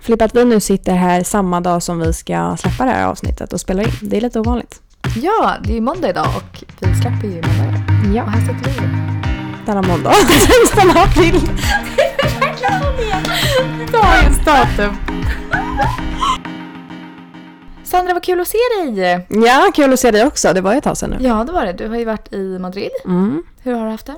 Flipp att vi nu sitter här samma dag som vi ska släppa det här avsnittet och spela in. Det är lite ovanligt. Ja, det är ju måndag idag och vi släpper ju måndag. Och Ja. här sitter vi. Denna måndag, 16 april. Dagens datum. Sandra, vad kul att se dig! Ja, kul att se dig också. Det var ju ett tag sedan nu. Ja, det var det. Du har ju varit i Madrid. Mm. Hur har du haft det?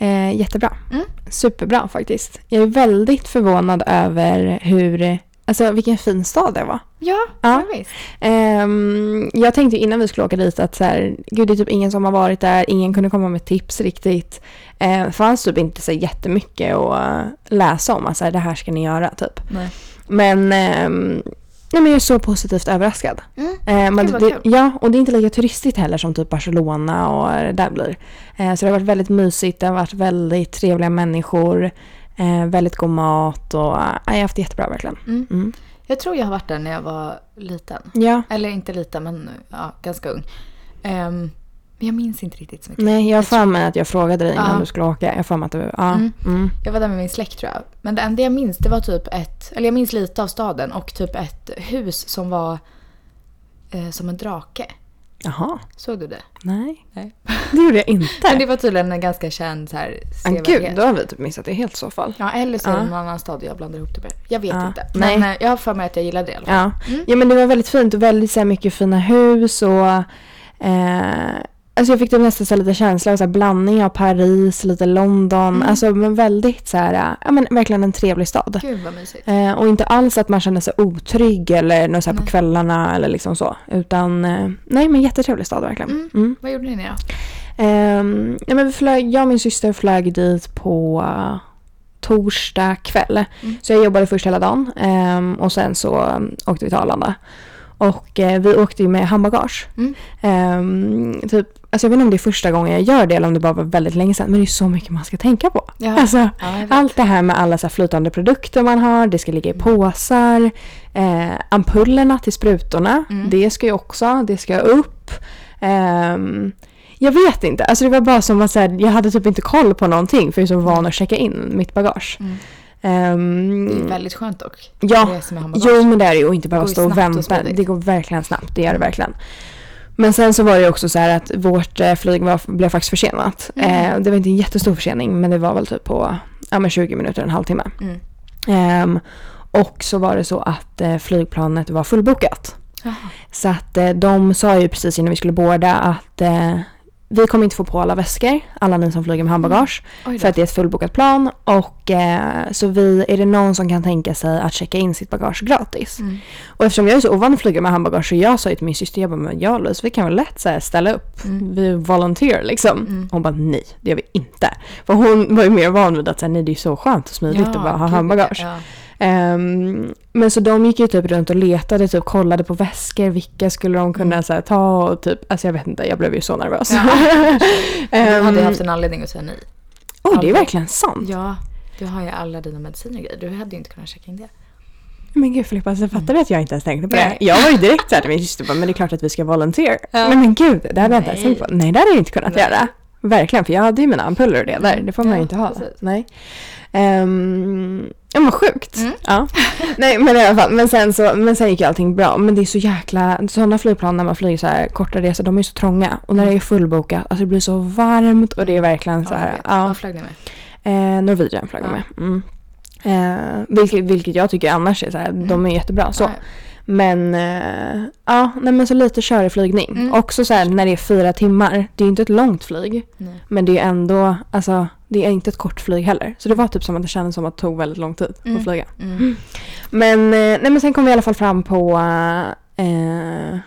Eh, jättebra. Mm. Superbra faktiskt. Jag är väldigt förvånad över hur, alltså vilken fin stad det var. Ja, Ja. men visst. Ehm, jag tänkte ju innan vi skulle åka dit att så här, gud det är typ ingen som har varit där, ingen kunde komma med tips riktigt. Eh, Det fanns typ inte så jättemycket att läsa om, att så här, det här ska ni göra typ. Nej. Men, ehm, nej, men jag är så positivt överraskad. Mm. Eh, men Gud, vad det, kul. ja, och det är inte lika turistigt heller som typ Barcelona och det där blir. Eh, så det har varit väldigt mysigt, det har varit väldigt trevliga människor, eh, väldigt god mat och eh, jag har haft det jättebra verkligen. Mm. Mm. Jag tror jag har varit där när jag var liten. Ja, Eller inte liten, men ja, ganska ung. Ehm, Men jag minns inte riktigt så mycket. nej jag har för mig att jag frågade dig innan Ja. du skulle åka. Jag har för mig att du, ja. Mm. Mm. Jag var där med min släkt tror jag. Men det enda jag minns det var typ ett, eller jag minns lite av staden och typ ett hus som var eh, som en drake. Jaha, Såg du det? nej. Nej. Det gjorde jag Men inte. det var tydligen en ganska känd så här Ah, gud, sevärdhet. då har vi typ missat det helt i så fall. Ja, eller så är det Ja. någon annan stad jag blandar ihop det med. Jag vet Ja, inte. nej. Men eh, jag har för mig att jag gillade det i alla fall. Mm. Ja. ja, men det var väldigt fint och väldigt så här, mycket fina hus och eh, alltså jag fick typ nästan så här, lite känsla av så här, blandning av Paris, lite London, alltså men väldigt så här, ja men verkligen en trevlig stad. Gud vad mysigt. Eh, och inte alls att man kände sig otrygg eller något så här, på kvällarna eller liksom så, utan eh, nej men jättetrevlig stad verkligen. Mm. Vad gjorde ni då? Ehm, nej men vi flög, jag och min syster flög dit på eh, torsdag kväll. Så jag jobbade först hela dagen ehm, och sen så um, åkte vi till Arlanda. Och eh, vi åkte ju med handbagage. Mm. Ehm, typ, alltså jag vet inte om det är första gången jag gör det eller om det bara var väldigt länge sedan. Men det är ju så mycket man ska tänka på. Ja. Alltså, Ja, jag vet. Mm. allt det här med alla så här flytande produkter man har, det ska ligga i påsar. Eh, ampullerna till sprutorna, Mm. det ska ju också, det ska upp. Ehm, jag vet inte, alltså det var bara som att så här, jag hade typ inte koll på någonting för jag är så van att checka in mitt bagage. Ehm, Mm. Det är väldigt skönt dock. Ja, Resa med handbagage. jo men det är det ju. Och inte behöva Det går stå ju och snabbt och vänta. smidigt. det går verkligen snabbt, det gör det verkligen. Men sen så var det ju också så här att vårt eh, flyg var, blev faktiskt försenat. Mm. Eh, det var inte en jättestor försening men det var väl typ på ja, men 20 minuter, en halvtimme. Mm. Ehm, och så var det så att eh, flygplanet var fullbokat. Jaha. Så att eh, de sa ju precis innan vi skulle boarda att eh, vi kommer inte få på alla väskor, alla ni som flyger med handbagage. Oj Mm. då. För att det är ett fullbokat plan och eh, så vi, är det någon som kan tänka sig att checka in sitt bagage gratis? Mm. Och eftersom jag är så ovan att flyga med handbagage så jag sa ju till min syster, jag bara, men ja Louise, vi kan väl lätt så här ställa upp, Mm. vi volunteer liksom. Hon bara, nej det gör vi inte. För hon var ju mer van vid att så här, nej det är ju så skönt och smidigt att bara ha gud, handbagage. Ja. Ehm, men så de gick ju typ runt och letade, typ kollade på väskor, vilka skulle de kunna så här, ta och typ, alltså jag vet inte, jag blev ju så nervös. Mm. Ja. Du Ehm, hade ju haft en anledning att säga nej. Oj, det är verkligen sant. Ja, du har ju alla dina mediciner och grejer. Du hade ju inte kunnat checka in det. Men gud Filippa, alltså, fattar du att jag inte ens tänkte på Nej. det? Jag var ju direkt såhär till min syster, bara, men det är klart att vi ska volunteer. Ja. Nej men gud, det hade jag inte ens Nej. tänkt på. Nej, det hade jag inte kunnat Nej. Mm. göra. Verkligen, för jag hade ju mina ampuller och det där. Det får man ju Ja, inte ha. precis. Nej. Um, ja men sjukt. Mm. Ja. Nej men i alla fall, men sen, så, men sen gick ju allting bra. Men det är så jäkla, sådana flygplan när man flyger så här korta resor, de är ju så trånga. Och när det är fullbokat, alltså det blir så varmt och det är verkligen så Ja, jag här. vet. ja. Vad flög ni med? Eh, Norwegian flög de Ja. med. Mm. Eh, vilket, vilket jag tycker annars är så här, de är jättebra så. Mm. Ja, Men eh, ja, nej, men så lite körig flygning. Mm. Också så här när det är fyra timmar, det är ju inte ett långt flyg. nej. Men det är ändå, alltså det är inte ett kort flyg heller. Så det var typ som att det kändes som att det tog väldigt lång tid Mm. att flyga. Mm. Men, eh, nej, men sen kom vi i alla fall fram på, eh,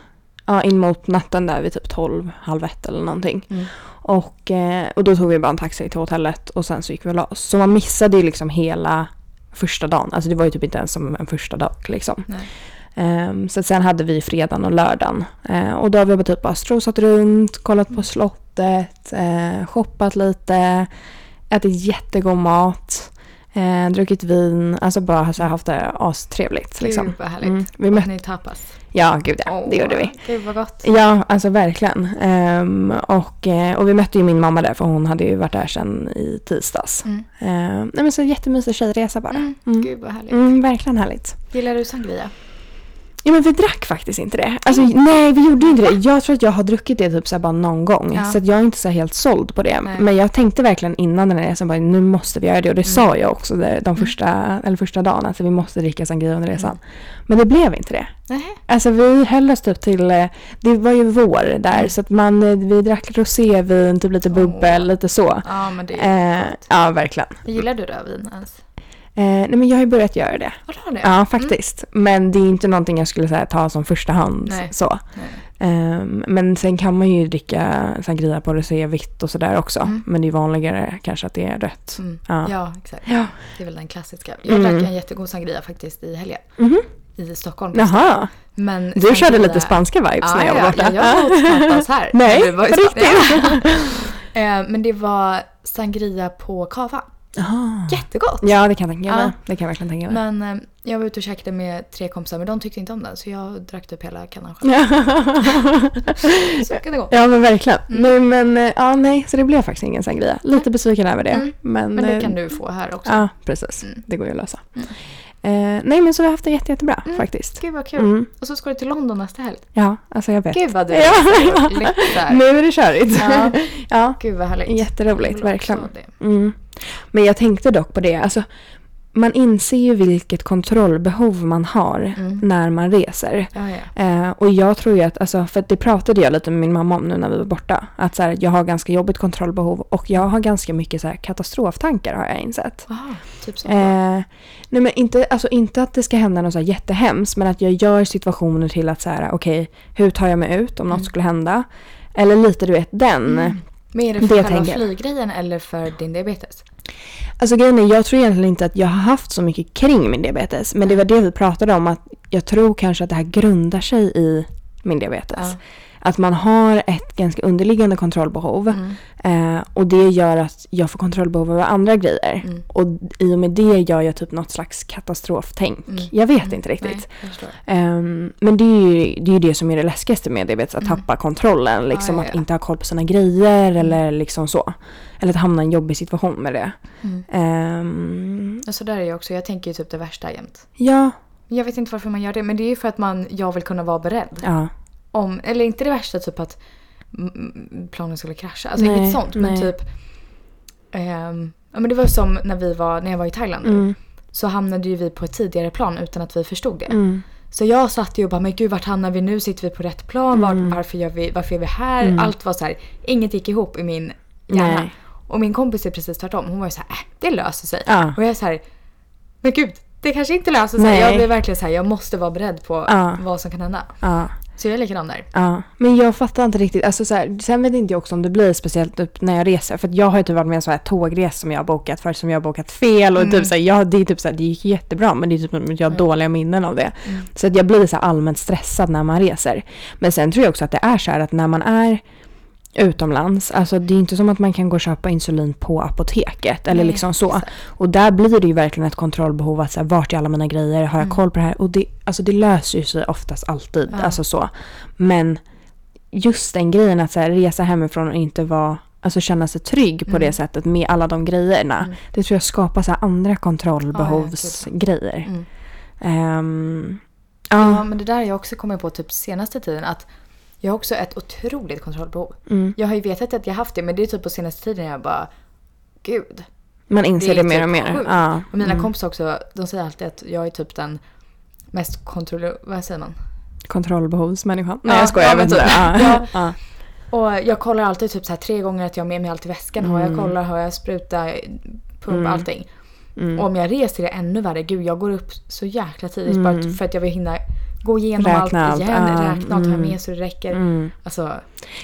ja in mot natten där vid typ 12, halv ett eller någonting. Mm. Och, eh, och då tog vi bara en taxi till hotellet och sen så gick vi och la oss. Så man missade ju liksom hela första dagen. Alltså det var ju typ inte ens som en första dag liksom. Nej. Ehm, så att sen hade vi fredagen och lördagen. Eh, och då har vi bara typ bara strosat runt, kollat på slottet, eh, shoppat lite, ätit jättegod mat. Eh, druckit vin, alltså bara så här, haft det astrevligt. Liksom. Gud vad härligt. Mm. Vi Åt mötte, ni tapas? ja, gud ja, det gjorde vi. Gud vad gott. Ja, alltså verkligen. Ehm, och, eh, och vi mötte ju min mamma där för hon hade ju varit där sedan i tisdags. Mm. Ehm, nej men så jättemysig tjejresa bara. Mm. Mm. Gud vad härligt. Mm, verkligen härligt. Gillar du sangria? Ja men vi drack faktiskt inte det. Alltså nej vi gjorde inte det. Jag tror att jag har druckit det typ så här bara någon gång. Ja. Så att jag är inte så här helt såld på det. Nej. Men jag tänkte verkligen innan den här resan bara nu måste vi göra det. Och det Mm. sa jag också där, de första, eller första dagen. Alltså vi måste dricka sangria under resan. Men det blev inte det. Mm. Nej. Alltså vi höll oss typ till, eh, det var ju vår där så att man, eh, vi drack rosévin, typ lite bubbel, Mm. Åh. lite så. Ja men det är Eh, gott. ja, verkligen. Gillar du rödvin ens? Eh, nej men jag har ju börjat göra det. Vad har du? Ja, faktiskt. Men det är inte någonting jag skulle säga ta som första hand. Nej. Så. Nej. Eh, men sen kan man ju dricka sangria på rosévitt och sådär också. Mm. Men det är vanligare kanske att det är rött. Mm. Ja. Ja. exakt. Ja. Det är väl den klassiska. Jag Mm. drack en jättegod sangria faktiskt i helgen. Mhm. I Stockholm. Jaha, Men du sangria- körde lite spanska vibes när jag var borta. Ja, jag åt tapas här. Nej, Men det var ju på spa- riktigt? Eh, Men det var sangria på kava. Jaha. Jättegott! Ja, det kan jag tänka mig. Ja. Det kan jag verkligen tänka mig. Men eh, jag var ute och käkade med tre kompisar men de tyckte inte om den så jag drack typ hela kannan själv. Så kan det gå. Ja men verkligen. Mm. Nej, men eh, ja, nej, så det blev faktiskt ingen sangria. Lite besviken över det. Mm. Men, Men det eh, kan du få här också. Ja precis, Mm. det går ju att lösa. Eh, nej men så vi har haft det jätte, jättebra Mm. faktiskt. Gud vad kul. Mm. Och så ska du till London nästa helg. Ja, alltså jag vet. Gud vad du Ja. längtar. Nu är det körigt. Ja. ja. Gud vad härligt. Jag Jätteroligt, vill också verkligen. det. Mm. Men jag tänkte dock på det, alltså, man inser ju vilket kontrollbehov man har Mm. när man reser. Ja, ja. Eh, och jag tror ju att, alltså, för att det pratade jag lite med min mamma om nu när vi var borta. Att så här, jag har ganska jobbigt kontrollbehov och jag har ganska mycket så här, katastroftankar har jag insett. Aha, typ så. Eh, nej men inte, alltså, inte att det ska hända något så här jättehemskt men att jag gör situationer till att så här, okej hur tar jag mig ut om något Mm. skulle hända? Eller lite du vet den. Men är det för det själva tänker jag. flyggrejen eller för din diabetes? Alltså grejen är, jag tror egentligen inte att jag har haft så mycket kring min diabetes. Men det var det vi pratade om, att jag tror kanske att det här grundar sig i min diabetes. Ja. Att man har ett ganska underliggande kontrollbehov. Mm. Eh, och det gör att jag får kontrollbehov över andra grejer. Mm. Och i och med det gör jag typ något slags katastroftänk. Mm. Jag vet inte riktigt. Nej, jag förstår. Ehm, men det är, ju, det är ju det som är det läskigaste med diabetes, att Mm. tappa kontrollen. Liksom, ja, Att ja. Mm. inte ha koll på sina grejer eller liksom så. Eller att hamna i en jobbig situation med det. Mm. Ehm, Ja, Så där är jag också. Jag tänker ju typ det värsta jämt. ja, Jag vet inte varför man gör det men det är ju för att man, jag vill kunna vara beredd. ja. Om, eller inte det värsta typ att mm, mm, planen skulle krascha. Alltså Nej, inget sånt men nej. typ. ehm, ja, men det var som när, vi var, när jag var i Thailand. Mm, Så hamnade ju vi på ett tidigare plan utan att vi förstod det. mm, Så jag satt ju och bara, men gud vart hamnar vi nu? Sitter vi på rätt plan? Mm. Var, varför, gör vi, varför är vi här? Allt var så här, inget gick ihop i min hjärna. Nej. Och min kompis är precis tvärtom. Hon var ju så här, äh, det löser sig. Ja. Och jag är så här, men gud, det kanske inte löser sig. Nej. Jag blir verkligen så här, jag måste vara beredd på Ja. vad som kan hända. ja, Så jag är likadan där. ja. Men jag fattar inte riktigt. Alltså, så här, sen vet inte jag också om det blir speciellt upp när jag reser. För att jag har ju typ varit med en sån här tågresa som jag har bokat för som jag har bokat fel. Mm. Och typ så här, jag, det, är typ så här, det gick jättebra men det är typ som att jag har dåliga minnen av det. Mm. Så att jag blir så här allmänt stressad när man reser. Men sen tror jag också att det är så här att när man är utomlands. Alltså det är inte som att man kan gå och köpa insulin på apoteket eller Nej, liksom så. exakt. Och där blir det ju verkligen ett kontrollbehov att så här, vart är alla mina grejer, har jag Mm. koll på det här? Och det, alltså, det löser ju sig oftast alltid. Alltså så. Men just den grejen att så här, resa hemifrån och inte vara Alltså känna sig trygg på Mm. det sättet med alla de grejerna. Det tror jag skapar så här andra kontrollbehovsgrejer. Mm. Ehm, Ja, ja, men det där har jag också kommit på typ senaste tiden att jag har också ett otroligt kontrollbehov. Mm. Jag har ju vetat att jag haft det men det är typ på senaste tiden jag bara, gud. man inser det, det är mer typ och mer. sjukt. Ja. Och mina kompisar också, de säger alltid att jag är typ den mest kontroll... Vad säger man? Kontrollbehovsmänniskan. Ja, Nej jag skojar, ja, jag vet men inte. typ. Ja. Ja. Och jag kollar alltid typ så här tre gånger att jag har med mig allt i väskan. Har Mm. jag kollar, har jag spruta, pump, allting. Mm. Och om jag reser är det ännu värre. Gud, jag går upp så jäkla tidigt bara för att jag vill hinna gå igenom allt, Mm. Räkna allt, Ah, mm. igen. ja. Räkna allt, ha med så det räcker. Mm. Alltså,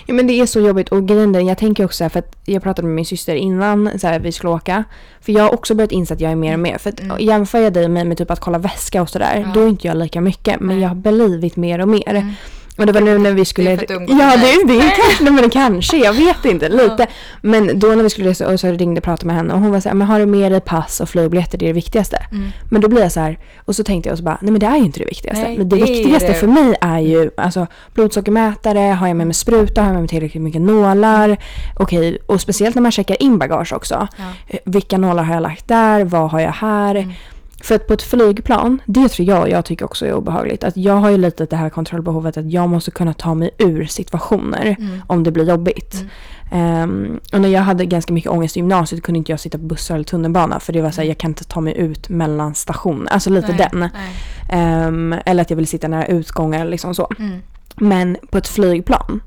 Ja men det är så jobbigt och grejen är, jag tänker också så här, för att jag pratade med min syster innan så här, vi skulle åka. För jag har också börjat inse att jag är mer och mer. För att Mm. jämför jag dig med, med typ att kolla väska och sådär, då är inte jag lika mycket. Men jag har blivit mer och mer. Och det var nu när vi Mm. Det skulle... är för att umgås ja, med mig. det, det är kanske, nej, men det kanske, jag vet inte, lite. Men då när vi skulle resa och så ringde jag och pratade med henne och hon var så här, men har du med dig pass och flygbiljetter, det är det viktigaste. Mm. Men då blir jag så här, och så tänkte jag så bara, nej men det är ju inte det viktigaste. Nej, men det, det är viktigaste det. för mig är ju alltså, blodsockermätare, har jag med mig spruta, har jag med mig tillräckligt mycket nålar? Okej, och speciellt när man checkar in bagage också. Eh, Vilka nålar har jag lagt där? Vad har jag här? För att på ett flygplan, det tror jag jag tycker också är obehagligt. Att jag har ju lite det här kontrollbehovet att jag måste kunna ta mig ur situationer mm. om det blir jobbigt. Ehm, och när jag hade ganska mycket ångest i gymnasiet kunde inte jag sitta på bussar eller tunnelbana för det var så här, jag kan inte ta mig ut mellan stationer. Alltså lite Nej, den. nej. Ehm, eller att jag ville sitta nära utgångar eller liksom så. Mm. Men på ett flygplan,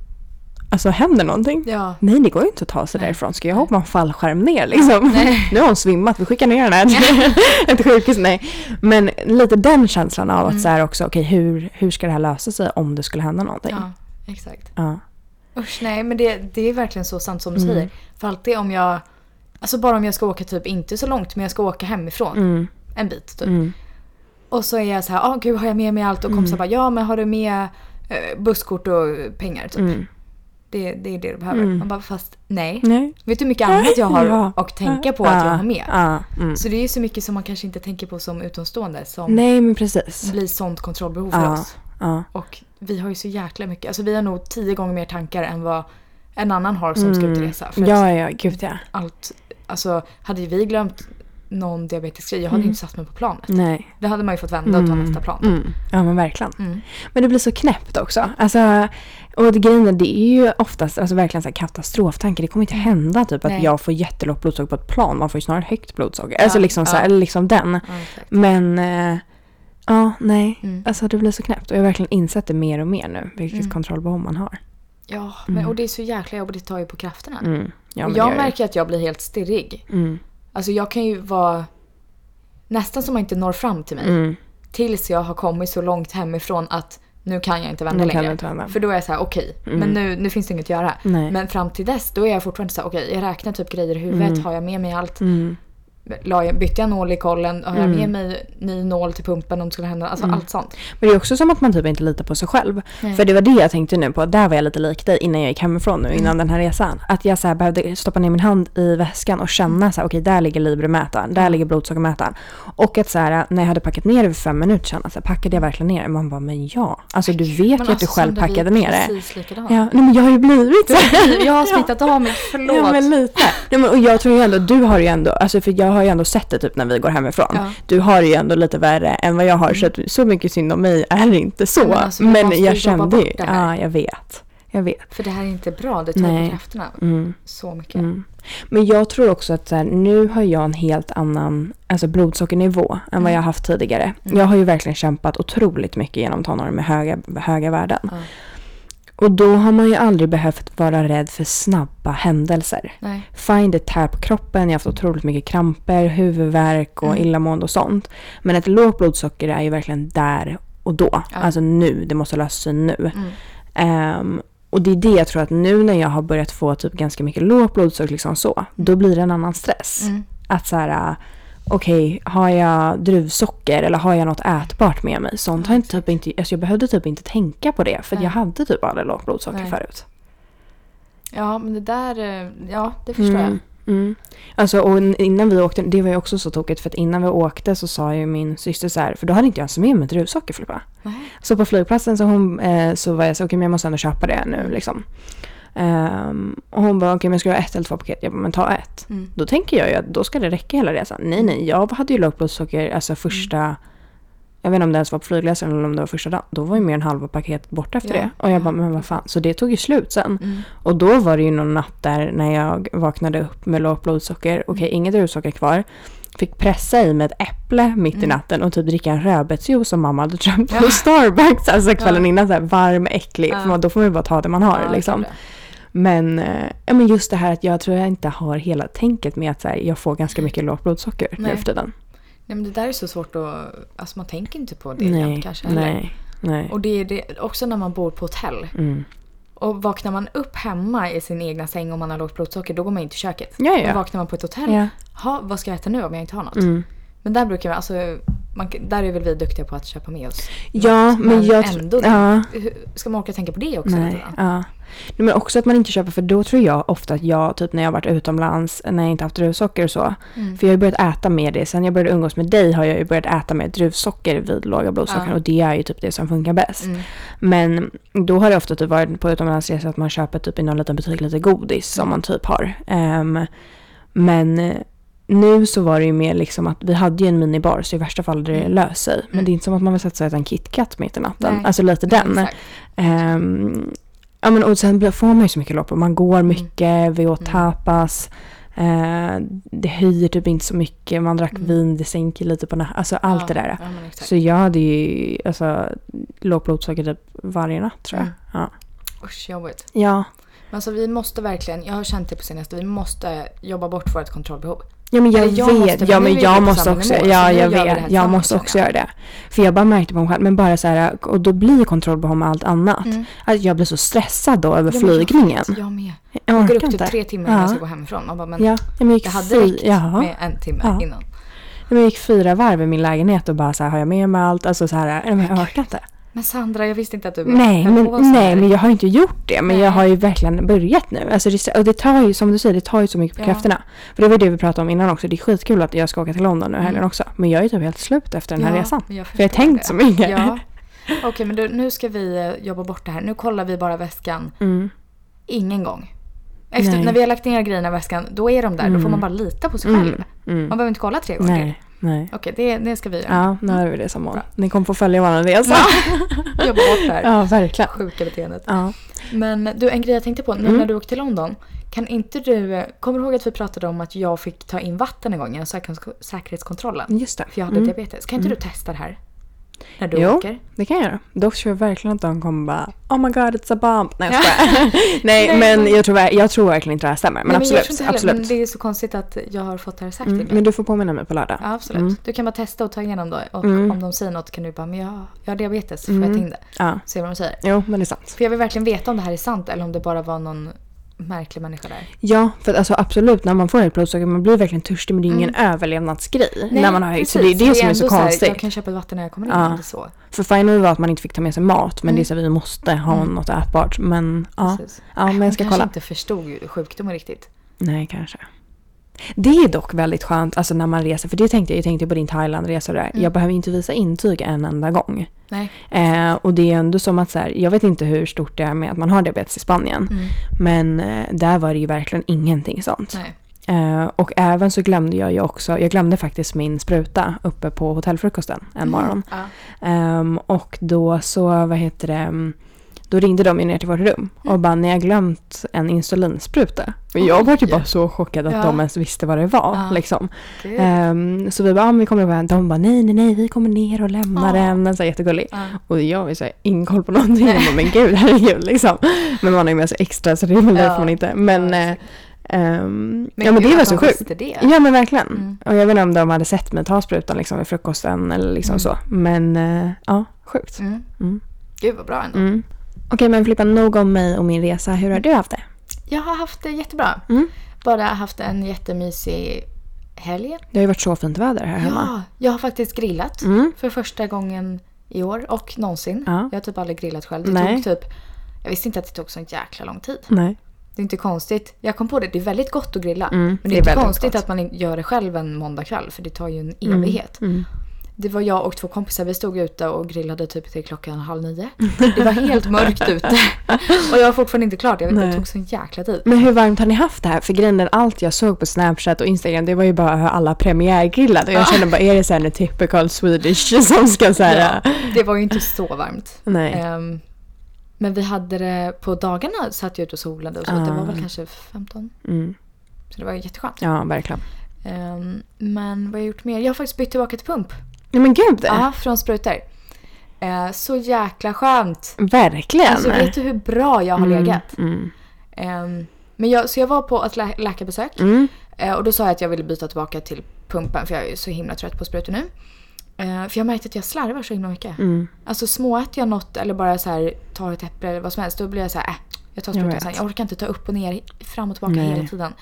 alltså händer någonting? Ja. Nej, det går ju inte att ta sig därifrån. Ska jag hoppa en fallskärm ner liksom? Nu har hon svimmat, vi skickar ner henne till ett sjukhus. Nej. Men lite den känslan av att Mm. så här också, okej hur, hur ska det här lösa sig om det skulle hända någonting? Ja, exakt. Ja. Usch, nej men det, det är verkligen så sant som du Mm. säger. För alltid om jag, alltså bara om jag ska åka typ inte så långt men jag ska åka hemifrån Mm. en bit typ. Och så är jag så här, ah, gud har jag med mig allt? Och Mm. kompisar bara, ja men har du med eh, busskort och pengar Mm. typ? Det, det är det du behöver. Man bara, fast nej. Nej. Vet du hur mycket annat jag har Ja. att tänka på att jag har med? Ja. Mm. Så det är ju så mycket som man kanske inte tänker på som utomstående som Nej, men precis. blir sånt kontrollbehov för Ja. oss. Ja. Och vi har ju så jäkla mycket, alltså vi har nog tio gånger mer tankar än vad en annan har som ska ut och resa. För att Mm. ja, ja, gud ja. allt, alltså hade ju vi glömt någon diabetisk grej, jag hade inte satt mig på planet. Nej. Då hade man ju fått vända och ta nästa plan. Mm. Ja men verkligen. Mm. Men det blir så knäppt också. Alltså, och det grejen är, det är ju oftast alltså, verkligen så här katastroftankar. Det kommer inte hända typ att Mm. Nej. jag får jättelågt blodsocker på ett plan. Man får ju snarare högt blodsocker. Alltså Ja, liksom, så här, ja. eller liksom den. Ja, exakt. Men eh, ja, nej. Mm. Alltså det blir så knäppt. Och jag har verkligen insett det mer och mer nu. Vilket kontrollbehov man har. ja men, och det är så jäkla jobbigt, det tar ju på krafterna. Mm. Ja, och men jag det gör märker att jag blir helt stirrig. Mm. Alltså jag kan ju vara nästan som man inte når fram till mig. Mm. Tills jag har kommit så långt hemifrån att nu kan jag inte vända Nu kan längre. du inte vända. Mm. För då är jag så här, okej, men nu, nu finns det inget att göra. Nej. Men fram till dess, då är jag fortfarande så här, okej, jag räknar typ grejer i huvudet. Mm. Har jag med mig allt? La jag, bytte jag nål i kollen? Har Mm. jag med mig ny nål till pumpen om det skulle hända? Alltså allt sånt. Men det är också som att man typ inte litar på sig själv. För det var det jag tänkte nu på. Där var jag lite lik dig innan jag gick hemifrån nu, Mm. innan den här resan. Att jag så här behövde stoppa ner min hand i väskan och känna så här, okej där ligger Libre-mätaren, Mm. där ligger blodsockermätaren. Och att så här, när jag hade packat ner det för fem minuter sedan, så här, packade jag verkligen ner det? Man bara, men ja. Alltså du vet ju Men att du alltså, själv Sandra, vi är packade ner det. Precis likadant. Ja, nej, men jag har ju blivit så. Jag har smittat av mig, förlåt. Ja men lite. Nej, men, och jag tror ju ändå, du har ju ändå, alltså för jag har ju ändå sett det typ när vi går hemifrån. Ja. Du har det ju ändå lite värre än vad jag har så att, så mycket synd om mig är det inte så. Men Mm. Men, alltså, vi måste jag ju jobba kände bort ju, det här. ja jag vet. Jag vet. För det här är inte bra, det tar Nej. Mm. på krafterna så mycket. Men jag tror också att så här, nu har jag en helt annan alltså blodsockernivå än vad jag har haft tidigare. Jag har ju verkligen kämpat otroligt mycket genom tonåren med höga, höga värden. Och då har man ju aldrig behövt vara rädd för snabba händelser. Nej. Find it här på kroppen, jag har haft otroligt mycket kramper, huvudvärk och illamående och sånt. Men ett lågt blodsocker är ju verkligen där och då. Alltså nu, det måste lösa sig nu. Mm. Ehm, och det är det jag tror att nu när jag har börjat få typ ganska mycket lågt blodsocker liksom så, då blir det en annan stress. Mm. Att så här, äh, okej, har jag druvsocker eller har jag något ätbart med mig? Sånt har inte typ inte, alltså jag behövde typ inte tänka på det för att jag hade typ aldrig lågt blodsocker Nej. förut. Ja, men det där, eh, ja det förstår jag. Mm. Alltså, och n- innan vi åkte, det var ju också så tokigt för att innan vi åkte så sa ju min syster så här, för då hade inte jag ens med mig druvsocker Filippa. Nej. Så på flygplatsen så, hon, eh, så var jag så okej men jag måste ändå köpa det nu liksom. Ehm, och hon bara, okej men ska du ha ett eller två paket? Jag bara, men ta ett. Mm. Då tänker jag ju att då ska det räcka hela resan. Nej nej, jag hade ju lågt blodsocker Mm. alltså första, jag vet inte om det ens var på flygresan eller om det var första dagen. Då var ju mer än halva paketet borta efter Ja. Mm. det. Och jag bara, men vad fan. Så det tog ju slut sen. Och då var det ju någon natt där när jag vaknade upp med lågt Mm. blodsocker. Okej, inget druvsocker kvar. Fick pressa i mig ett äpple mitt Mm. i natten och typ dricka en rödbetsjuice som mamma hade köpt på Starbucks. Alltså kvällen innan, så här varm, äcklig. För man, då får man ju bara ta det man har Ja, jag liksom. tror det. Men, eh, ja, men just det här att jag tror jag inte har hela tänket med att så här, jag får ganska mycket lågt blodsocker nu Nej. för tiden. Nej men det där är så svårt att, alltså man tänker inte på det Nej, jämt kanske heller. nej, nej. Mm. Och det är det, också när man bor på hotell. Och vaknar man upp hemma i sin egna säng om man har lågt blodsocker, då går man in till köket. Ja, ja. Och vaknar man på ett hotell, Ja. Mm. ha, vad ska jag äta nu om jag inte har något? Men där brukar jag, alltså man, kan- där är väl vi duktiga på att köpa med oss. Ja, men Men jag tr- ändå- Ja, Hur- Ska man orka tänka på det också? lite nej. grann? Ja. Nej, Men också att man inte köper, för då tror jag ofta att jag, typ när jag har varit utomlands, när jag inte haft druvsocker och så. Mm. För jag har ju börjat äta mer det. Sen jag började umgås med dig har jag ju börjat äta mer druvsocker vid låga blodsocker. Ja. Och det är ju typ det som funkar bäst. Mm. Men då har det ofta typ varit på utomlandsresor att man köper typ i någon liten butik lite godis som Mm. man typ har. Ehm, men eh, nu så var det ju mer liksom att vi hade ju en minibar så i värsta fall hade det löst sig. Men Mm. det är inte som att man vill sätta sig och äta en KitKat mitt i natten. Nej. Alltså lite den. Exakt. Ehm, ja, men, och sen blir- får man ju så mycket lopp och man går mycket, vi åt Mm. tapas. Eh, det höjer typ inte så mycket, man drack Mm. vin, det sänker lite på natten. Alltså allt det Ja, där. Ja, men exakt. Så jag hade ju alltså, lågt blodsocker typ varje natt tror jag. Mm. Ja. Usch, jobbigt. Ja. Men alltså vi måste verkligen, jag har känt det på senaste, vi måste jobba bort vårt kontrollbehov. ja, men jag, Eller jag vet. måste- ja, nu är men vi jag på måste samma också. nivå, så ja, nu jag gör vi det här vet. Jag tillsammans, måste också känner göra det. För jag bara märkte på mig själv, men bara så här, och då blir kontrollbehov med allt annat. Mm. Att jag blir så stressad då över Ja, men jag flygningen. vet, Jag med. Jag Jag går orkar upp inte. typ tre timmar innan Ja. jag ska gå hemifrån. Man bara, men Ja, men jag gick, det hade fy- räckt ja. med en timme Ja. innan. Men jag gick fyra varv i min lägenhet och bara så här, har jag med mig allt? Alltså så här, nej, men jag orkar inte. Men Sandra, jag visste inte att du Nej höll på så men, nej, här. men jag har inte gjort det. Men Nej. jag har ju verkligen börjat nu. Alltså det, och det tar ju, som du säger, det tar ju så mycket på Ja. krafterna. För det var ju det vi pratade om innan också. Det är skitkul att jag ska åka till London nu i helgen Mm. också. Men jag är ju typ helt slut efter den här Ja, resan. Jag För jag har förstår tänkt det. så mycket. Ja. Okej, men du, nu ska vi eh, jobba bort det här. Nu kollar vi bara väskan Mm. ingen gång. Efter, Nej. när vi har lagt ner grejerna i väskan, då är de där. Då får man bara lita på sig själv. Mm. Man Mm. behöver inte kolla tre gånger till. Nej, nej. Okej, det, det ska vi göra. Ja, nu har vi det som mål. Ni kommer få följa vår resa. Jobba bort det här Ja, verkligen. sjuka beteendet. Ja. Men du, en grej jag tänkte på. Nu Mm. när du åkte till London. Kan inte du... eh, Kommer du ihåg att vi pratade om att jag fick ta in vatten en gång genom säkerhets- säkerhetskontrollen? Just det. För jag hade Mm. diabetes. Kan inte du testa det här? När du Jo. åker? Det kan jag göra. Dock tror jag verkligen att de kommer bara Oh my god it's a bomb. Nej jag skojar. Nej Nej, men men- jag tror, ver- jag tror verkligen inte det här stämmer. Men Nej, jag absolut. tror inte absolut. Men det är så konstigt att jag har fått det här sagt Mm, till mig. men du får påminna mig på lördag. Ja, absolut. Mm. Du kan bara testa och ta igenom då. Och Mm. om de säger något kan du bara, men jag, jag har diabetes. Får Mm. jag ta in det? Ja. Se vad de säger. Jo men det är sant. För jag vill verkligen veta om det här är sant eller om det bara var någon märklig människa där. Ja för att alltså absolut när man får ett blodsocker man blir verkligen törstig men det är ingen Mm. överlevnadsgrej. när man har högt. Så det är det, som är så ändå här, konstigt. jag kan köpa vatten när jag kommer in. Ja. Eller så. För final var att man inte fick ta med sig mat men det är så att vi måste ha något ätbart. Men ja. Mm. Precis. ja men jag ska kanske kolla. inte förstod sjukdomen riktigt. Nej, kanske. Det är dock väldigt skönt alltså när man reser, för det tänkte jag, jag tänkte på din Thailandresa och det där. Mm. Jag behöver inte visa intyg en enda gång. Nej. Eh, och det är ändå som att så här, jag vet inte hur stort det är med att man har diabetes i Spanien. Mm. Men eh, där var det ju verkligen ingenting sånt. Nej. Eh, och även så glömde jag ju också, jag glömde faktiskt min spruta uppe på hotellfrukosten en Mm. morgon. Ja. Ehm, och då så, vad heter det, mm, då ringde de ju ner till vårt rum och Mm. bara ni har glömt en insulinspruta. Och jag var ju bara så chockad att Ja. de ens visste vad det var. Ja. Liksom. Gud. Ehm, så vi bara, ah, men vi kommer ihåg De bara, nej nej nej vi kommer ner och lämnar Ja. den. Så här, jättegullig. Ja. Och jag har ju så här ingen koll på någonting. Jag bara, men gud herregud liksom. Men man har ju med sig extra så det är väl Ja. därför man inte. Men, Ja, eh, exakt. ehm, ja, men det gud, var att så de sjukt. visste Det. Ja men verkligen. Mm. Och jag vet inte om de hade sett mig ta sprutan liksom vid frukosten eller liksom så. Men eh, ja, sjukt. Mm. Mm. Gud vad bra ändå. Mm. Okej men Filippa, nog om mig och min resa. Hur Mm. har du haft det? Jag har haft det jättebra. Mm. Bara haft en jättemysig helg. Det har ju varit så fint väder här hemma. Ja, jag har faktiskt grillat Mm. för första gången i år och någonsin. Ja. Jag har typ aldrig grillat själv. Det Nej. tog typ, jag visste inte att det tog så jäkla lång tid. Nej. Det är inte konstigt. Jag kom på det, det är väldigt gott att grilla. Mm, men det det är är inte väldigt konstigt gott. att man in- gör det själv en måndagkväll för det tar ju en evighet. Mm. Det var jag och två kompisar, vi stod ute och grillade typ till klockan halv nio. Det var helt mörkt ute. Och jag var fortfarande inte klar, jag vet, det Nej. tog så jäkla tid. Men hur varmt har ni haft det här? För grejen är allt jag såg på Snapchat och Instagram det var ju bara hur alla premiärgrillade. Och jag kände bara, är det så här en typical Swedish som ska så här... Ja, det var ju inte så varmt. Nej. Ehm, men vi hade det på dagarna satt jag ute och solade och så. Det Ah. var väl kanske 15. Mm. Så det var jätteskönt. Ja, verkligen. Ehm, men vad har jag gjort mer? Jag har faktiskt bytt tillbaka till pump. Nej men gud! Ja, från sprutor. Eh, så jäkla skönt. Verkligen! Alltså vet du hur bra jag har legat? mm. Ehm, men jag, så jag var på ett lä- läkarbesök Mm. eh, och då sa jag att jag ville byta tillbaka till pumpen för jag är ju så himla trött på sprutor nu. Eh, för jag märkte att jag slarvar så himla mycket. Mm. Alltså småäter jag något eller bara så här tar ett äpple eller vad som helst då blir jag så här, äh, jag tar Jag sprutan vet. sen. Jag orkar inte ta upp och ner, fram och tillbaka Nej. hela tiden.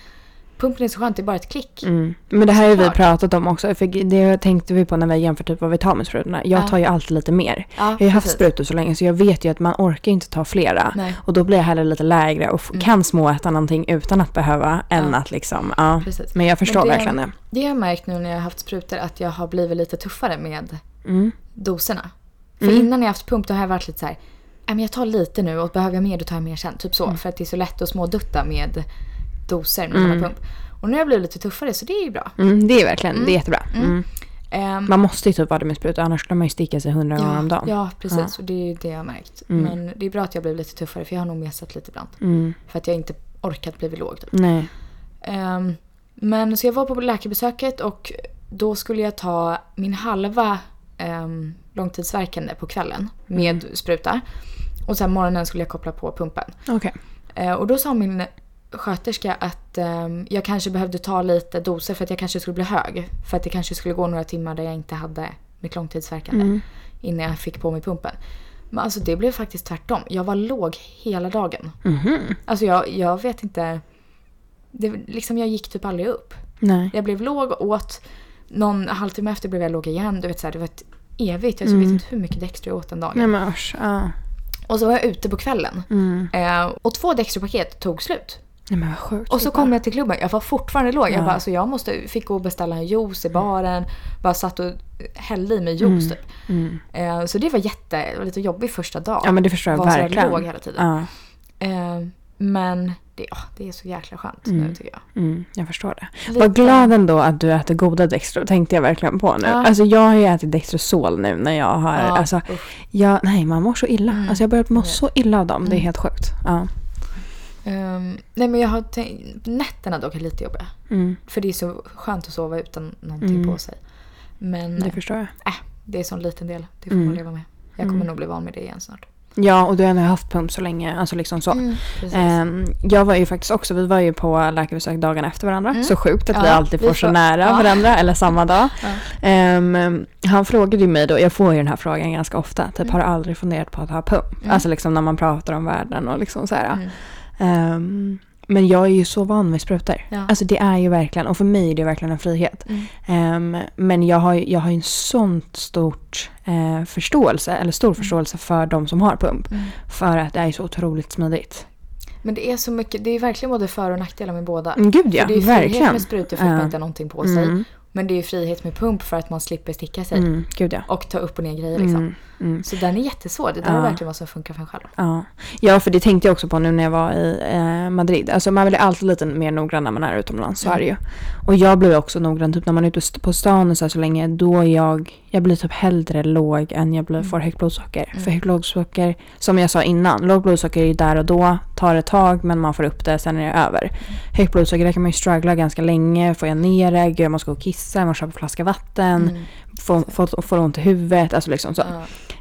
Pumpen är så skönt, det är bara ett klick. Mm. Men det här har vi Smart. pratat om också. För det tänkte vi på när vi jämför typ vad vi tar med sprutorna. Jag Ja. tar ju alltid lite mer. Ja, Jag har ju haft precis. sprutor så länge så jag vet ju att man orkar inte ta flera. Nej. Och då blir jag hellre lite lägre och f- Mm. kan småäta någonting utan att behöva än Ja. att liksom, ja. Precis. Men jag förstår det- verkligen det. Det har jag märkt nu när jag har haft sprutor att jag har blivit lite tuffare med Mm. doserna. För Mm. innan jag haft pump då har jag varit lite så här, "Ja, men jag tar lite nu och behöver jag mer då tar jag mer sen. Typ så, Mm. för att det är så lätt att smådutta med doser när man har pump. Och nu har jag blivit lite tuffare så det är ju bra. Mm, det är verkligen, det är jättebra. Mm. Ehm, Man måste ju typ vara det med sprutor annars skulle man ju sticka sig hundra gånger om ja, dagen. ja, precis. Och det är ju det jag har märkt. Men det är bra att jag blev lite tuffare för jag har nog mesat lite ibland. Mm. För att jag inte orkat bli låg. Typ. Nej. Ehm, men så jag var på läkarbesöket och då skulle jag ta min halva um, långtidsverkande på kvällen med spruta. Och sen morgonen skulle jag koppla på pumpen. Okej. Eh, och då sa min sköterska att ehm, jag kanske behövde ta lite doser för att jag kanske skulle bli hög. För att det kanske skulle gå några timmar där jag inte hade mitt långtidsverkande Mm. innan jag fick på mig pumpen. Men alltså det blev faktiskt tvärtom. Jag var låg hela dagen. Mhm. Alltså jag, jag vet inte. Det, liksom jag gick typ aldrig upp. Nej. Jag blev låg, åt. Någon halvtimme efter blev jag låg igen. Du vet så här, det var ett evigt. Mm. Jag vet inte hur mycket Dextro jag åt den dagen. Nej men usch. Ja. Och så var jag ute på kvällen. Mm. Eh, och två Dextro-paket tog slut. Nej men vad sjukt. Och så kom jag till klubben. Jag var fortfarande låg. Ja. Jag bara, alltså jag måste, fick gå och beställa en juice i baren. Bara satt och eh, hällde i mig juice typ. Mm. Eh, så det var jätte, det var lite jobbig första dag. Ja men det förstår jag var så här verkligen. låg hela tiden. Ja. Eh, men det, ja, det är så jäkla skönt nu tycker jag. Mm, jag förstår det. Lite- Vad glad ändå att du äter goda Dextro, tänkte jag verkligen på nu. Ja. Alltså jag har ju ätit Dextrosol nu när jag har, Ja, alltså, usch. jag, nej man mår så illa. Alltså jag börjar må så illa av dem, det är Mm. helt sjukt. Ja. Ehm, nej men jag har tänkt, nätterna dock är lite jobbiga. Mm, För det är så skönt att sova utan någonting Mm. på sig. Men det det, förstår jag. äh, det är sån liten del, det får Mm. man leva med. Jag kommer nog bli van med det igen snart. Ja, och du har ändå haft pump så länge, alltså liksom så. precis. Ehm, jag var ju faktiskt också, vi var ju på läkarbesök dagarna efter varandra. Så sjukt att vi Mm. Ja, alltid vi får så får- nära ja. varandra eller samma dag. Ehm, han frågade ju mig då, jag får ju den här frågan ganska ofta, typ Mm. har du aldrig funderat på att ha pump? Alltså liksom när man pratar om världen och liksom så här. Mm. Ehm, men jag är ju så van vid sprutor. Ja. Mm. Alltså det är ju verkligen, och för mig är det verkligen en frihet. Ehm, men jag har, ju- jag har ju en sånt stort eh, förståelse, eller Mm. stor förståelse för de som har pump. För att det är så otroligt smidigt. Men det är så mycket, det är verkligen både för och nackdelar med båda. Men Mm, gud ja, för det är ju frihet verkligen. med sprutor för att man Ja. inte har någonting på sig. Mm. Men det är ju frihet med pump för att man slipper sticka sig Mm, gud ja. och ta upp och ner grejer liksom. Mm, mm. Så den är jättesvår, det där Ja. är verkligen vad som funkar för en själv. Ja. ja, för det tänkte jag också på nu när jag var i eh, Madrid. Alltså man blir alltid lite mer noggrann när man är utomlands, så är det ju. Och jag blir också noggrann, typ när man är ute st- på stan och så, här så länge, då är jag, jag blir typ hellre låg än jag Mm. blir, får högt blodsocker. För högt blodsocker, som jag sa innan, lågt blodsocker är ju där och då, tar ett tag men man får upp det, sen är det över. Högt blodsocker, där kan man ju struggla ganska länge, får jag ner det, gud jag måste gå och kissa, jag måste köpa en flaska vatten, får, får, får ont i huvudet, alltså liksom så. Mm.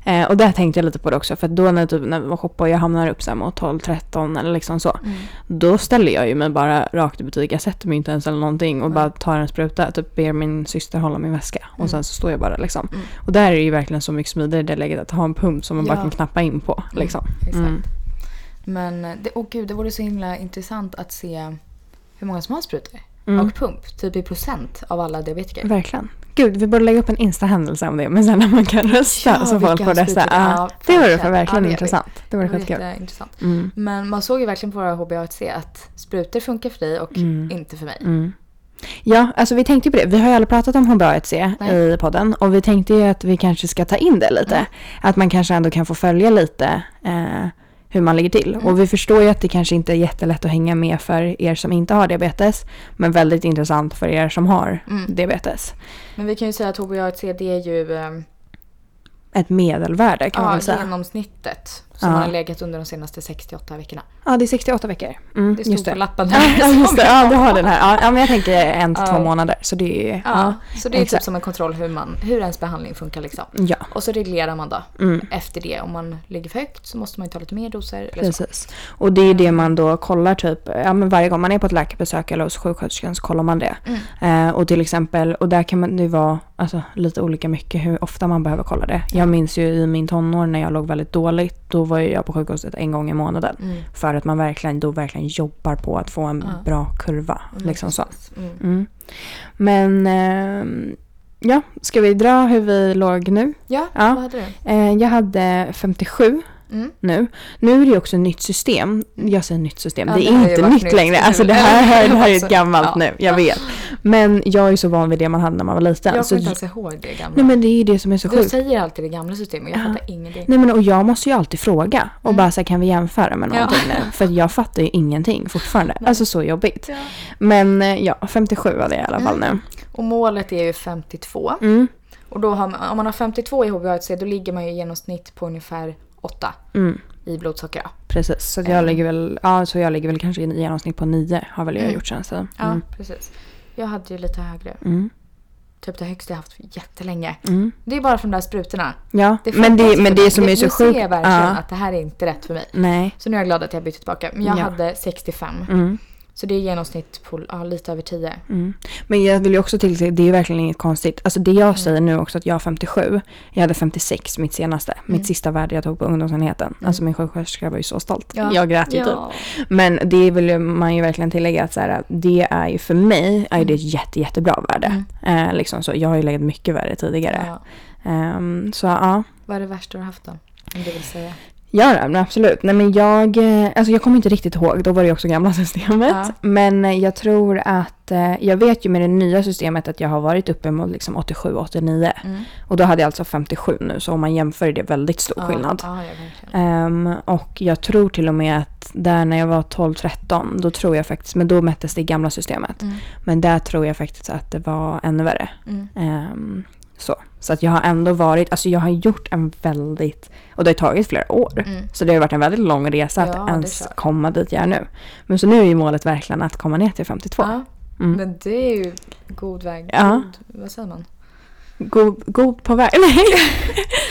Ja. Eh, och där tänkte jag lite på det också, för att då när, typ, när man shoppar och jag hamnar upp så här mot 12-13 eller liksom så. Mm. Då ställer jag ju mig bara rakt i butik, jag sätter mig inte ens eller någonting och bara tar en spruta. Typ ber min syster hålla min väska och Mm. sen så står jag bara liksom. Och där är det ju verkligen så mycket smidigare i det läget att ha en pump som man bara Ja. Mm. kan knappa in på. Liksom. Exakt. Men det, åh gud, det vore så himla intressant att se hur många som har sprutor Mm. och pump. Typ i procent av alla diabetiker. Verkligen. Gud, vi borde lägga upp en Insta-händelse om det, men sen när man kan rösta Ja, så alltså, folk vilka får rösta. sprutor. Ja, Ja, det vore verkligen. för Ja, verkligen det gör vi. intressant. Det vore Mm. Det var skitkul. jätteintressant. Men man såg ju verkligen på våra HBAC att sprutor funkar för dig och Mm. inte för mig. Ja, alltså vi tänkte ju på det. Vi har ju aldrig pratat om HBA1C Nej. i podden och vi tänkte ju att vi kanske ska ta in det lite. Att man kanske ändå kan få följa lite eh, hur man ligger Mm. till. Och vi förstår ju att det kanske inte är jättelätt att hänga med för er som inte har diabetes men väldigt intressant för er som har Mm. diabetes. Men vi kan ju säga att HBA1C det är ju eh, Ett medelvärde kan man ja, väl säga. genomsnittet som Ja. har legat under de senaste 68 veckorna. Ja, det är 68 veckor. Mm, Det just stod det. på lappen Ja, där. just det. Ja, du har den här. Ja, Ja, men jag tänker en till två Ja. månader. Så det är ju... Ja, så det är exakt. typ som en kontroll hur, man, hur ens behandling funkar. Liksom. Ja, Mm. Och så reglerar man då efter det. Om man ligger för högt så måste man ju ta lite mer doser. Eller så. Precis. Och det är ju det man då kollar typ, ja men varje gång man är på ett läkarbesök eller hos sjuksköterskan så kollar man det. Eh, och till exempel, och där kan man, det vara alltså, lite olika mycket hur ofta man behöver kolla det. Jag minns ju i min tonår när jag låg väldigt dåligt, då var ju jag på sjukhuset en gång i månaden. Mm. För att man verkligen, då verkligen jobbar på att få en Ja. bra kurva. Liksom så. Mm. Mm. Men eh, ja, ska vi dra hur vi låg nu? Ja, Ja. vad hade du? Eh, jag hade 57 Mm. nu. Nu är det ju också nytt system. Jag säger nytt system, Ja, det det är har ju inte varit nytt nytt längre. nu. Alltså det här, det här är ett Ja. gammalt nu, jag vet. Men jag är så van vid det man hade när man var liten. Jag så, kommer inte ens ihåg det gamla. alltså, nej men det är ju det som är så du sjukt. säger alltid det gamla systemet, jag Ja. fattar ingenting. Nej men och jag måste ju alltid fråga och Mm. bara så här, kan vi jämföra med Ja. någonting nu? För jag fattar ju ingenting fortfarande. Alltså så jobbigt. Ja. Men eh, ja, 57 var det i alla fall nu. Och målet är ju 52. Mm, Och då har man, om man har 52 i HbA1c då ligger man ju i genomsnitt på ungefär 8 mm, i blodsocker. Ja, precis. Eh. Så att jag, ligger väl, ja, så jag ligger väl kanske i genomsnitt på 9 har väl jag Mm. gjort sen. Så. Mm. ja precis. Jag hade ju lite högre. Mm. Typ det högsta jag haft jättelänge. Mm. Det är bara från de där sprutorna. Ja, är men, det, fantastiskt men för det mig. som är så nu sjukt... ser jag verkligen ja. att det här är inte rätt för mig. Nej. Så nu är jag glad att jag bytte tillbaka. Men jag Ja. hade 65. Mm. Så det är i genomsnitt på ja, lite över 10. Mm. Men jag vill ju också tillägga, det är verkligen inget konstigt. Alltså det jag Mm. säger nu också att jag har 57, jag hade 56 mitt senaste, Mm. mitt sista värde jag tog på ungdomsenheten. Alltså min sjuksköterska var ju så stolt. Ja. Jag grät ju Ja. typ. Men det vill ju man ju verkligen tillägga att så här, det är ju för mig är ju Mm. det ett jätte, jättebra värde. Eh, liksom så. Jag har ju legat mycket värre tidigare. Ja. Ehm, så ja. Vad är det värsta du har haft då? Om du vill säga. Ja, ja, men absolut. Nej, men jag, eh, alltså jag kommer inte riktigt ihåg, då var det ju också gamla systemet. Ja. Men eh, jag tror att, eh, jag vet ju med det nya systemet att jag har varit uppemot liksom 87-89. Mm. Och då hade jag alltså 57 nu, så om man jämför är det väldigt stor skillnad. Ja, ja, verkligen. Ehm, och jag tror till och med att där när jag var 12-13, då tror jag faktiskt, men då mättes det i gamla systemet. Mm. Men där tror jag faktiskt att det var ännu värre. Mm. Ehm, så. så att jag har ändå varit, alltså jag har gjort en väldigt, och det har tagit flera år. Mm. Så det har varit en väldigt lång resa Ja, att det är ens klart. komma dit jag är nu. Men så nu är ju målet verkligen att komma ner till 52. Ja. Mm. Men det är ju god väg. Ja. God, vad säger man? God, god på väg. Nej.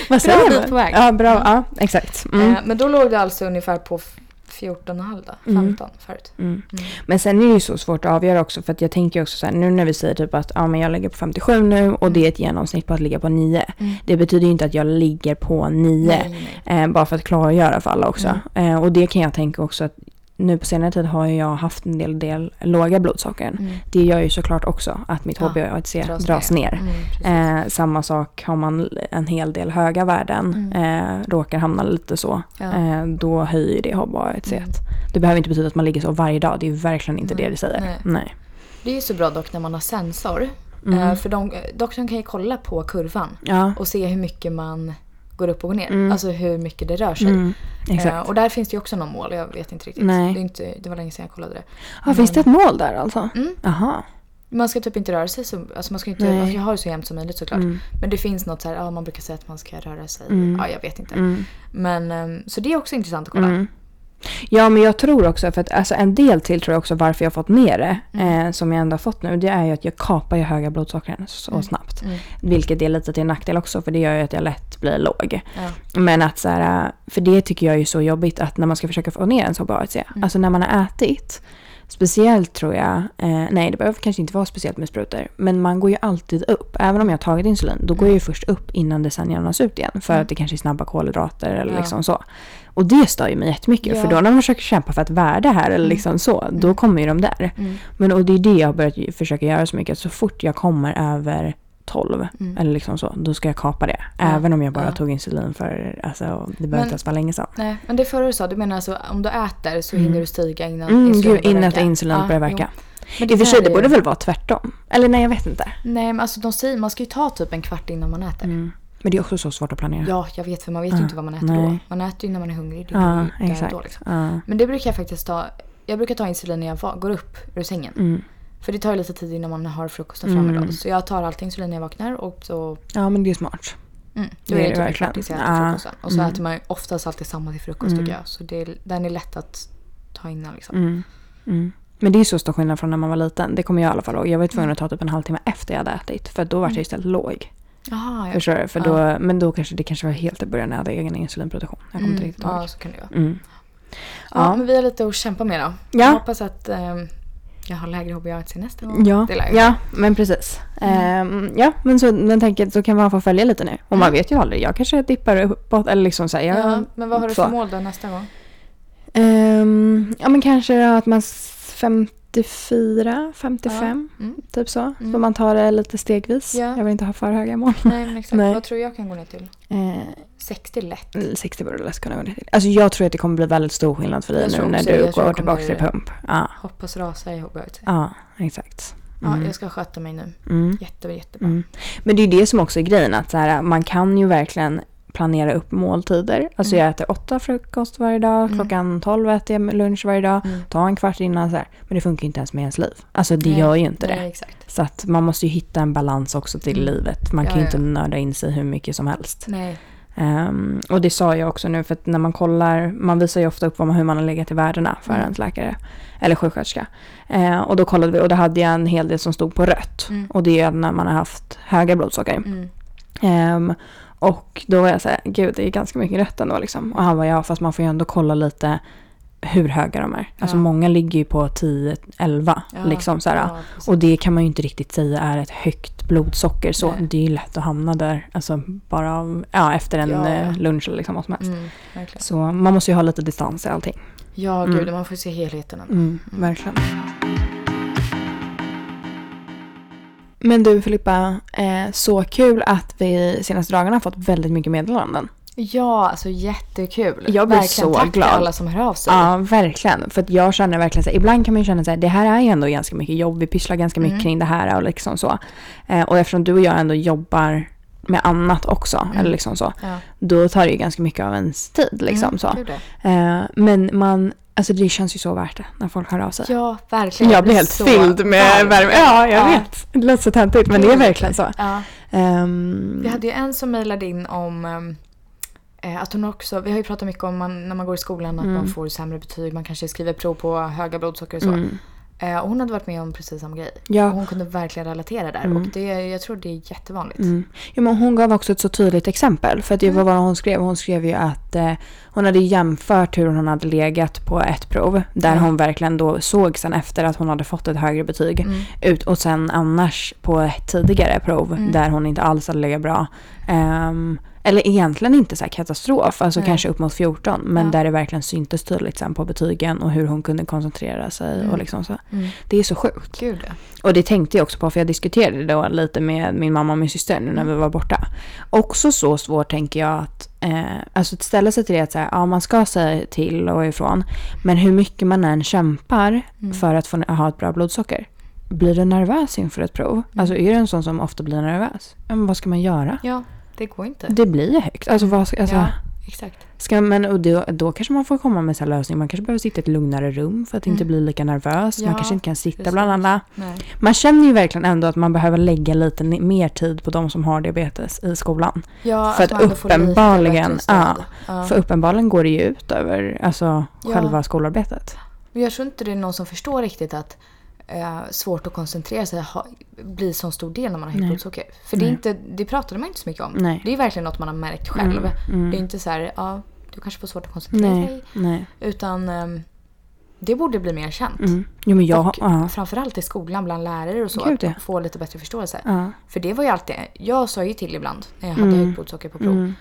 Vad säger man? bit på väg. Ja, bra. Ja, exakt. Mm. Eh, men då låg det alltså ungefär på f- 14,5 då? 15 Mm. förut? Mm. Mm. Men sen är det ju så svårt att avgöra också för att jag tänker ju också så här nu när vi säger typ att ja, men jag ligger på 57 nu och det är ett genomsnitt på att ligga på 9. Mm. Det betyder ju inte att jag ligger på 9. Nej, Mm. nej. Eh, bara för att klargöra för alla också. Eh, och det kan jag tänka också att nu på senare tid har ju jag haft en del, del låga blodsockern. Mm. Det gör ju såklart också att mitt Ja, HbA1c dras, ner. Mm, precis. Mm. Eh, samma sak har man en hel del höga värden, eh, råkar hamna lite så, Ja. eh, då höjer ju det HbA1c. Mm. Det behöver inte betyda att man ligger så varje dag, det är ju verkligen inte Nej, det det säger. nej. Nej. Det är ju så bra dock när man har sensor. Eh, Mm. För de, doktorn kan ju kolla på kurvan Ja, och se hur mycket man går upp och går ner. Mm. Alltså hur mycket det rör sig. mm, exakt. Eh, och där finns det ju också någon mål, jag vet inte riktigt. Nej. Det, är inte, det var länge sedan jag kollade det. ah, finns det ett mål där alltså? Mm. Aha. Man ska typ inte röra sig så, alltså man ska inte, Nej. man ska ha det så jämnt som möjligt såklart. Mm. Men det finns något så här, ja man brukar säga att man ska röra sig, Mm. ja jag vet inte. Mm. Men, ehm, så det är också intressant att kolla. Mm. Ja, men jag tror också, för att alltså, en del till tror jag också varför jag har fått med det, Mm. eh, som jag ändå har fått nu, det är ju att jag kapar ju höga blodsockren så snabbt. Mm. Vilket är lite till nackdel också, för det gör ju att jag lätt blir låg. Ja. Men att så här, för det tycker jag är ju så jobbigt att när man ska försöka få ner ens HbA1c, Mm. alltså när man har ätit, speciellt tror jag, eh, nej det behöver kanske inte vara speciellt med sprutor, men man går ju alltid upp. Även om jag har tagit insulin, då Mm. går jag ju först upp innan det sen jämnas ut igen. För att det kanske är snabba kolhydrater eller Ja. liksom så. Och det stör ju mig jättemycket, Ja. Mm. för då när man försöker kämpa för att värde här eller liksom så, då kommer ju de där. Men och det är det jag har börjat ju- försöka göra så mycket, att så fort jag kommer över 12 eller liksom så, då ska jag kapa det. Även om jag bara Mm. Ja. tog insulin för, alltså det behöver Men- inte ens vara länge sedan. Nej, men det förra du sa, du menar alltså om du äter så hinner du stiga innan Mm, gud, insulinet börjar innan att verka. insulin Ja, börjar jo. verka. Men I och för där sig, det är- borde väl vara tvärtom. Eller nej, jag vet inte. Nej men alltså de säger, man ska ju ta typ en kvart innan man äter. Mm. Men det är också så svårt att planera. Ja, jag vet för man vet ju inte vad man äter nej. då. Man äter ju när man är hungrig. Det är Ja, ju där och exakt. Då, liksom. Ja. Men det brukar jag faktiskt ta. Jag brukar ta insulin när jag va- går upp ur sängen. Mm. För det tar ju lite tid innan man har frukosten framme då. Så jag tar alltid insulin när jag vaknar och så ja, men det är smart. Mm, Det då är är det det typ verkligen. Ah. Mm. klart tills jag äter Ja. frukosten. Och så äter man ju oftast alltid samma till frukost tycker jag. Så det är, den är lätt att ta innan liksom. Mm. Men det är så stor skillnad från när man var liten. Det kommer jag i alla fall ihåg. Jag var ju Mm. tvungen att ta typ en halvtimme efter jag hade ätit. För då var jag istället låg. Jaha, ja. Förstår du? För då, Men då kanske det kanske var helt i början när jag hade egen insulinproduktion. Jag kommer inte riktigt ihåg. ja, Mm, så kan det vara. Mm. Ja, Ja. men vi har lite att kämpa med då. Ja. Jag hoppas att ehm, jag har lägre HBA1C nästa gång. Ja, Det Mm. lär jag. ja men precis. Ehm, ja, men så, men tänker, så kan man få följa lite nu. Och man vet ju aldrig. Jag kanske dippar uppåt. Eller liksom så här, jag, Mm. Ja, men vad har du för så. mål då nästa gång? Ehm, ja, men kanske att man s- 54, 55, Ja. Mm. typ så. Så Mm. man tar det lite stegvis. Ja. Jag vill inte ha för höga mål. Nej men exakt, Nej. vad tror jag kan gå ner till? Ehm, 60 lätt. Mm, 60 borde lätt kunna gå ner till. Alltså jag tror att det kommer bli väldigt stor skillnad för dig Jag nu tror när också du det. Jag tror går jag kommer- tillbaka till pump. Ja, Hoppas rasa i HBA1C. ja exakt. Ja, Mm. jag ska sköta mig nu. Mm. Jätte, jättebra. Mm. Men det är ju det som också är grejen, att så här, man kan ju verkligen planera upp måltider. Alltså Mm. jag äter åtta frukost varje dag, Mm. klockan tolv äter jag lunch varje dag, Mm. ta en kvart innan så här. Men det funkar ju inte ens med ens liv. Alltså det Nej, gör ju inte Nej, det. exakt. Så att man måste ju hitta en balans också till Mm. livet. Man Ja, kan ju ja, inte ja. nörda in sig hur mycket som helst. Nej. Ehm, och det sa jag också nu för att när man kollar, man visar ju ofta upp vad man, hur man har legat i värdena för Mm. ens läkare eller sjuksköterska. Eh, och då kollade vi och då hade jag en hel del som stod på rött. Mm. Och det är när man har haft höga blodsocker. Mm. Ehm, och då var jag så här, gud det är ganska mycket rött ändå liksom. Och han var ja fast man får ju ändå kolla lite hur höga de är. Alltså Ja. många ligger ju på 10-11 Ja, liksom så här. ja, precis. Och det kan man ju inte riktigt säga är ett högt blodsocker. Så Nej. det är ju lätt att hamna där. Alltså bara av, ja, efter en Ja, ja. eh, lunch eller liksom vad som helst. Mm, verkligen. Så man måste ju ha lite distans i allting. Ja, Mm. gud, man får se helheten. ändå. verkligen. Men du Filippa, eh, så kul att vi senaste dagarna har fått väldigt mycket meddelanden. Ja, alltså jättekul. Jag blir så verkligen tack glad. till alla som hör av sig. Ja, verkligen. För att jag känner verkligen så här, ibland kan man ju känna så här, det här är ju ändå ganska mycket jobb, vi pysslar ganska mycket Mm. kring det här och liksom så. Eh, och eftersom du och jag ändå jobbar med annat också, eller liksom så, Ja. då tar det ju ganska mycket av ens tid liksom Mm. Mm, så. gud, det. Eh, men man, alltså det känns ju så värt det när folk hör av sig. Ja, verkligen. jag blir helt så fylld med varm. värme. Ja, jag Ja. vet. Det låter så töntigt men det är Gud. verkligen så. Ja. Ehm, Mm. Vi hade ju en som mejlade in om ehm, eh, att hon också, vi har ju pratat mycket om man, när man går i skolan att man får sämre betyg, man kanske skriver prov på höga blodsocker och så. Mm. Eh, och hon hade varit med om precis samma grej. Ja. Och hon kunde verkligen relatera där och det, jag tror det är jättevanligt. Mm. Ja, men hon gav också ett så tydligt exempel. För att det var vad hon skrev. Hon skrev ju att eh, hon hade jämfört hur hon hade legat på ett prov. Där Ja. hon verkligen då såg sen efter att hon hade fått ett högre betyg. Mm. Ut, och sen annars på ett tidigare prov Mm. där hon inte alls hade legat bra. Ehm, eller egentligen inte så här katastrof, alltså Nej. kanske upp mot 14. Men Ja. där det verkligen syntes tydligt sen på betygen och hur hon kunde koncentrera sig. Och liksom så. Mm. Det är så sjukt. Gud ja. Och det tänkte jag också på för jag diskuterade det då lite med min mamma och min syster nu när Mm. vi var borta. Också så svårt tänker jag att, eh, alltså att ställa sig till det att så här, ja, man ska säga till och ifrån. Men hur mycket man än kämpar Mm. för att få, ha ett bra blodsocker. Blir du nervös inför ett prov? Mm. Alltså är du en sån som ofta blir nervös? Ja, men vad ska man göra? Ja, det går inte. Det blir ju högt. Alltså, vad, ska- alltså, Ja, exakt. ska man, och då, då kanske man får komma med en lösning. Man kanske behöver sitta i ett lugnare rum för att inte bli lika nervös. man Mm. Ja, kanske inte kan sitta precis. bland alla. Nej. Man känner ju verkligen ändå att man behöver lägga lite ni- mer tid på de som har diabetes i skolan. Ja, alltså, För att man ändå får lite uppenbarligen- bättre stöd. Ja. För uppenbarligen går det ju ut över alltså, Ja. själva skolarbetet. Men jag tror inte det är någon som förstår riktigt att eh, svårt att koncentrera sig ha, blir så stor del när man har högt blodsocker. För det, är inte, det pratade man inte så mycket om. Nej. Det är verkligen något man har märkt själv. Mm. Det är inte så här, ja, du kanske får svårt att koncentrera dig. Mm. Nej, nej. Utan ehm, det borde bli mer känt. Mm. Jo men jag... Och ja. framförallt i skolan bland lärare och så. Gud, att ja. få lite bättre förståelse. Ja. För det var ju alltid, jag sa ju till ibland när jag hade Mm. högt blodsocker på prov.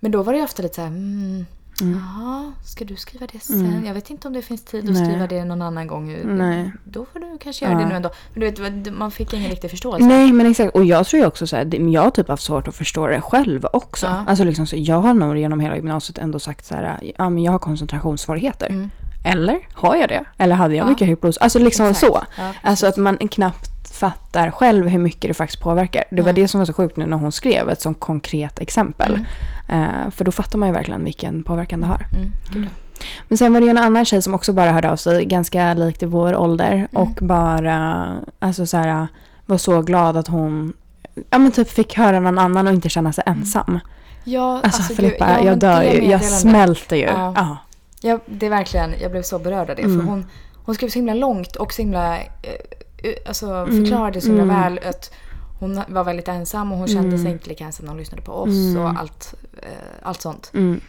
Men då var det ju ofta lite så här, mm, jaha, ska du skriva det sen? Jag vet inte om det finns tid att Mm. Nej. skriva det någon annan gång. Nej. Då får du kanske göra det nu ändå. Men du vet, vad- man fick ingen riktig förståelse. Nej men exakt, och jag tror ju också så här, det- jag har typ haft svårt att förstå det själv också. Ja. Alltså liksom så, jag har nog genom hela gymnasiet ändå sagt så här, ja men jag har koncentrationssvårigheter. Mm. Eller har jag det? Eller hade jag mycket högt blodsocker? Alltså liksom Exakt. så. Ja, precis. alltså att man knappt fattar själv hur mycket det faktiskt påverkar. Det var Mm. det som var så sjukt nu när hon skrev ett som konkret exempel. Eh, för då fattar man ju verkligen vilken påverkan det har. Mm, gud. Men sen var det ju en annan tjej som också bara hörde av sig, ganska likt i vår ålder. Mm. Och bara alltså så här, var så glad att hon ja, men typ fick höra någon annan och inte känna sig ensam. Ja, Alltså, gud, Filippa, Mm. ja, men jag dör det ju. Jag meddelandet. smälter ju. Ja. Ja. Ja, det är verkligen, jag blev så berörd av det. Mm. För hon, hon skrev så himla långt och så himla, eh, eh, alltså Mm. förklarade så himla väl att hon var väldigt Mm. ensam och hon kände sig inte lika ensam när hon lyssnade på oss och allt, eh, allt sånt. Mm.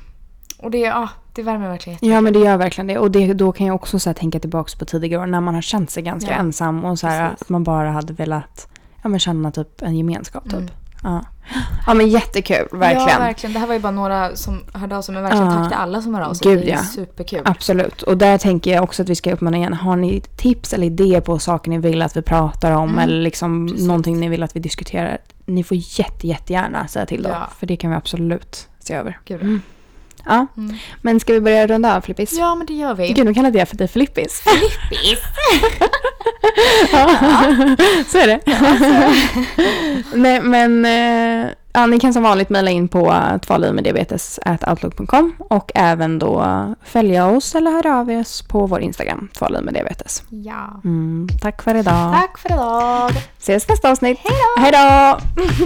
Och det, ja, det värmer verkligen Ja men det gör verkligen det. Och det, då kan jag också så här tänka tillbaka på tidigare år när man har känt sig ganska Ja. ensam och så här, Precis. att man bara hade velat ja, men känna typ en gemenskap. Typ. Mm. Ja. ja men jättekul, verkligen. Ja, verkligen. Det här var ju bara några som hörde av sig, men verkligen Ja. tack till alla som hörde av sig. Gud, det är ja. superkul. Absolut. Och där tänker jag också att vi ska uppmana igen. Har ni tips eller idéer på saker ni vill att vi pratar om Mm, eller liksom precis. någonting ni vill att vi diskuterar? Ni får jätte, jättegärna säga till då. Ja. För det kan vi absolut se över. Gud. Mm. Ja. Mm. Men ska vi börja runda av Flippis? Ja, men det gör vi. Gud, nu kallade jag för dig Flippis. Flippis! så är det. Nej, men eh, ja, ni kan som vanligt mejla in på tvalivmeddiabetes.outlook.com och även då följa oss eller höra av oss på vår Instagram, tvalivmeddiabetes. Ja. Mm, tack för idag. Tack för idag. Ses nästa avsnitt. Hej då!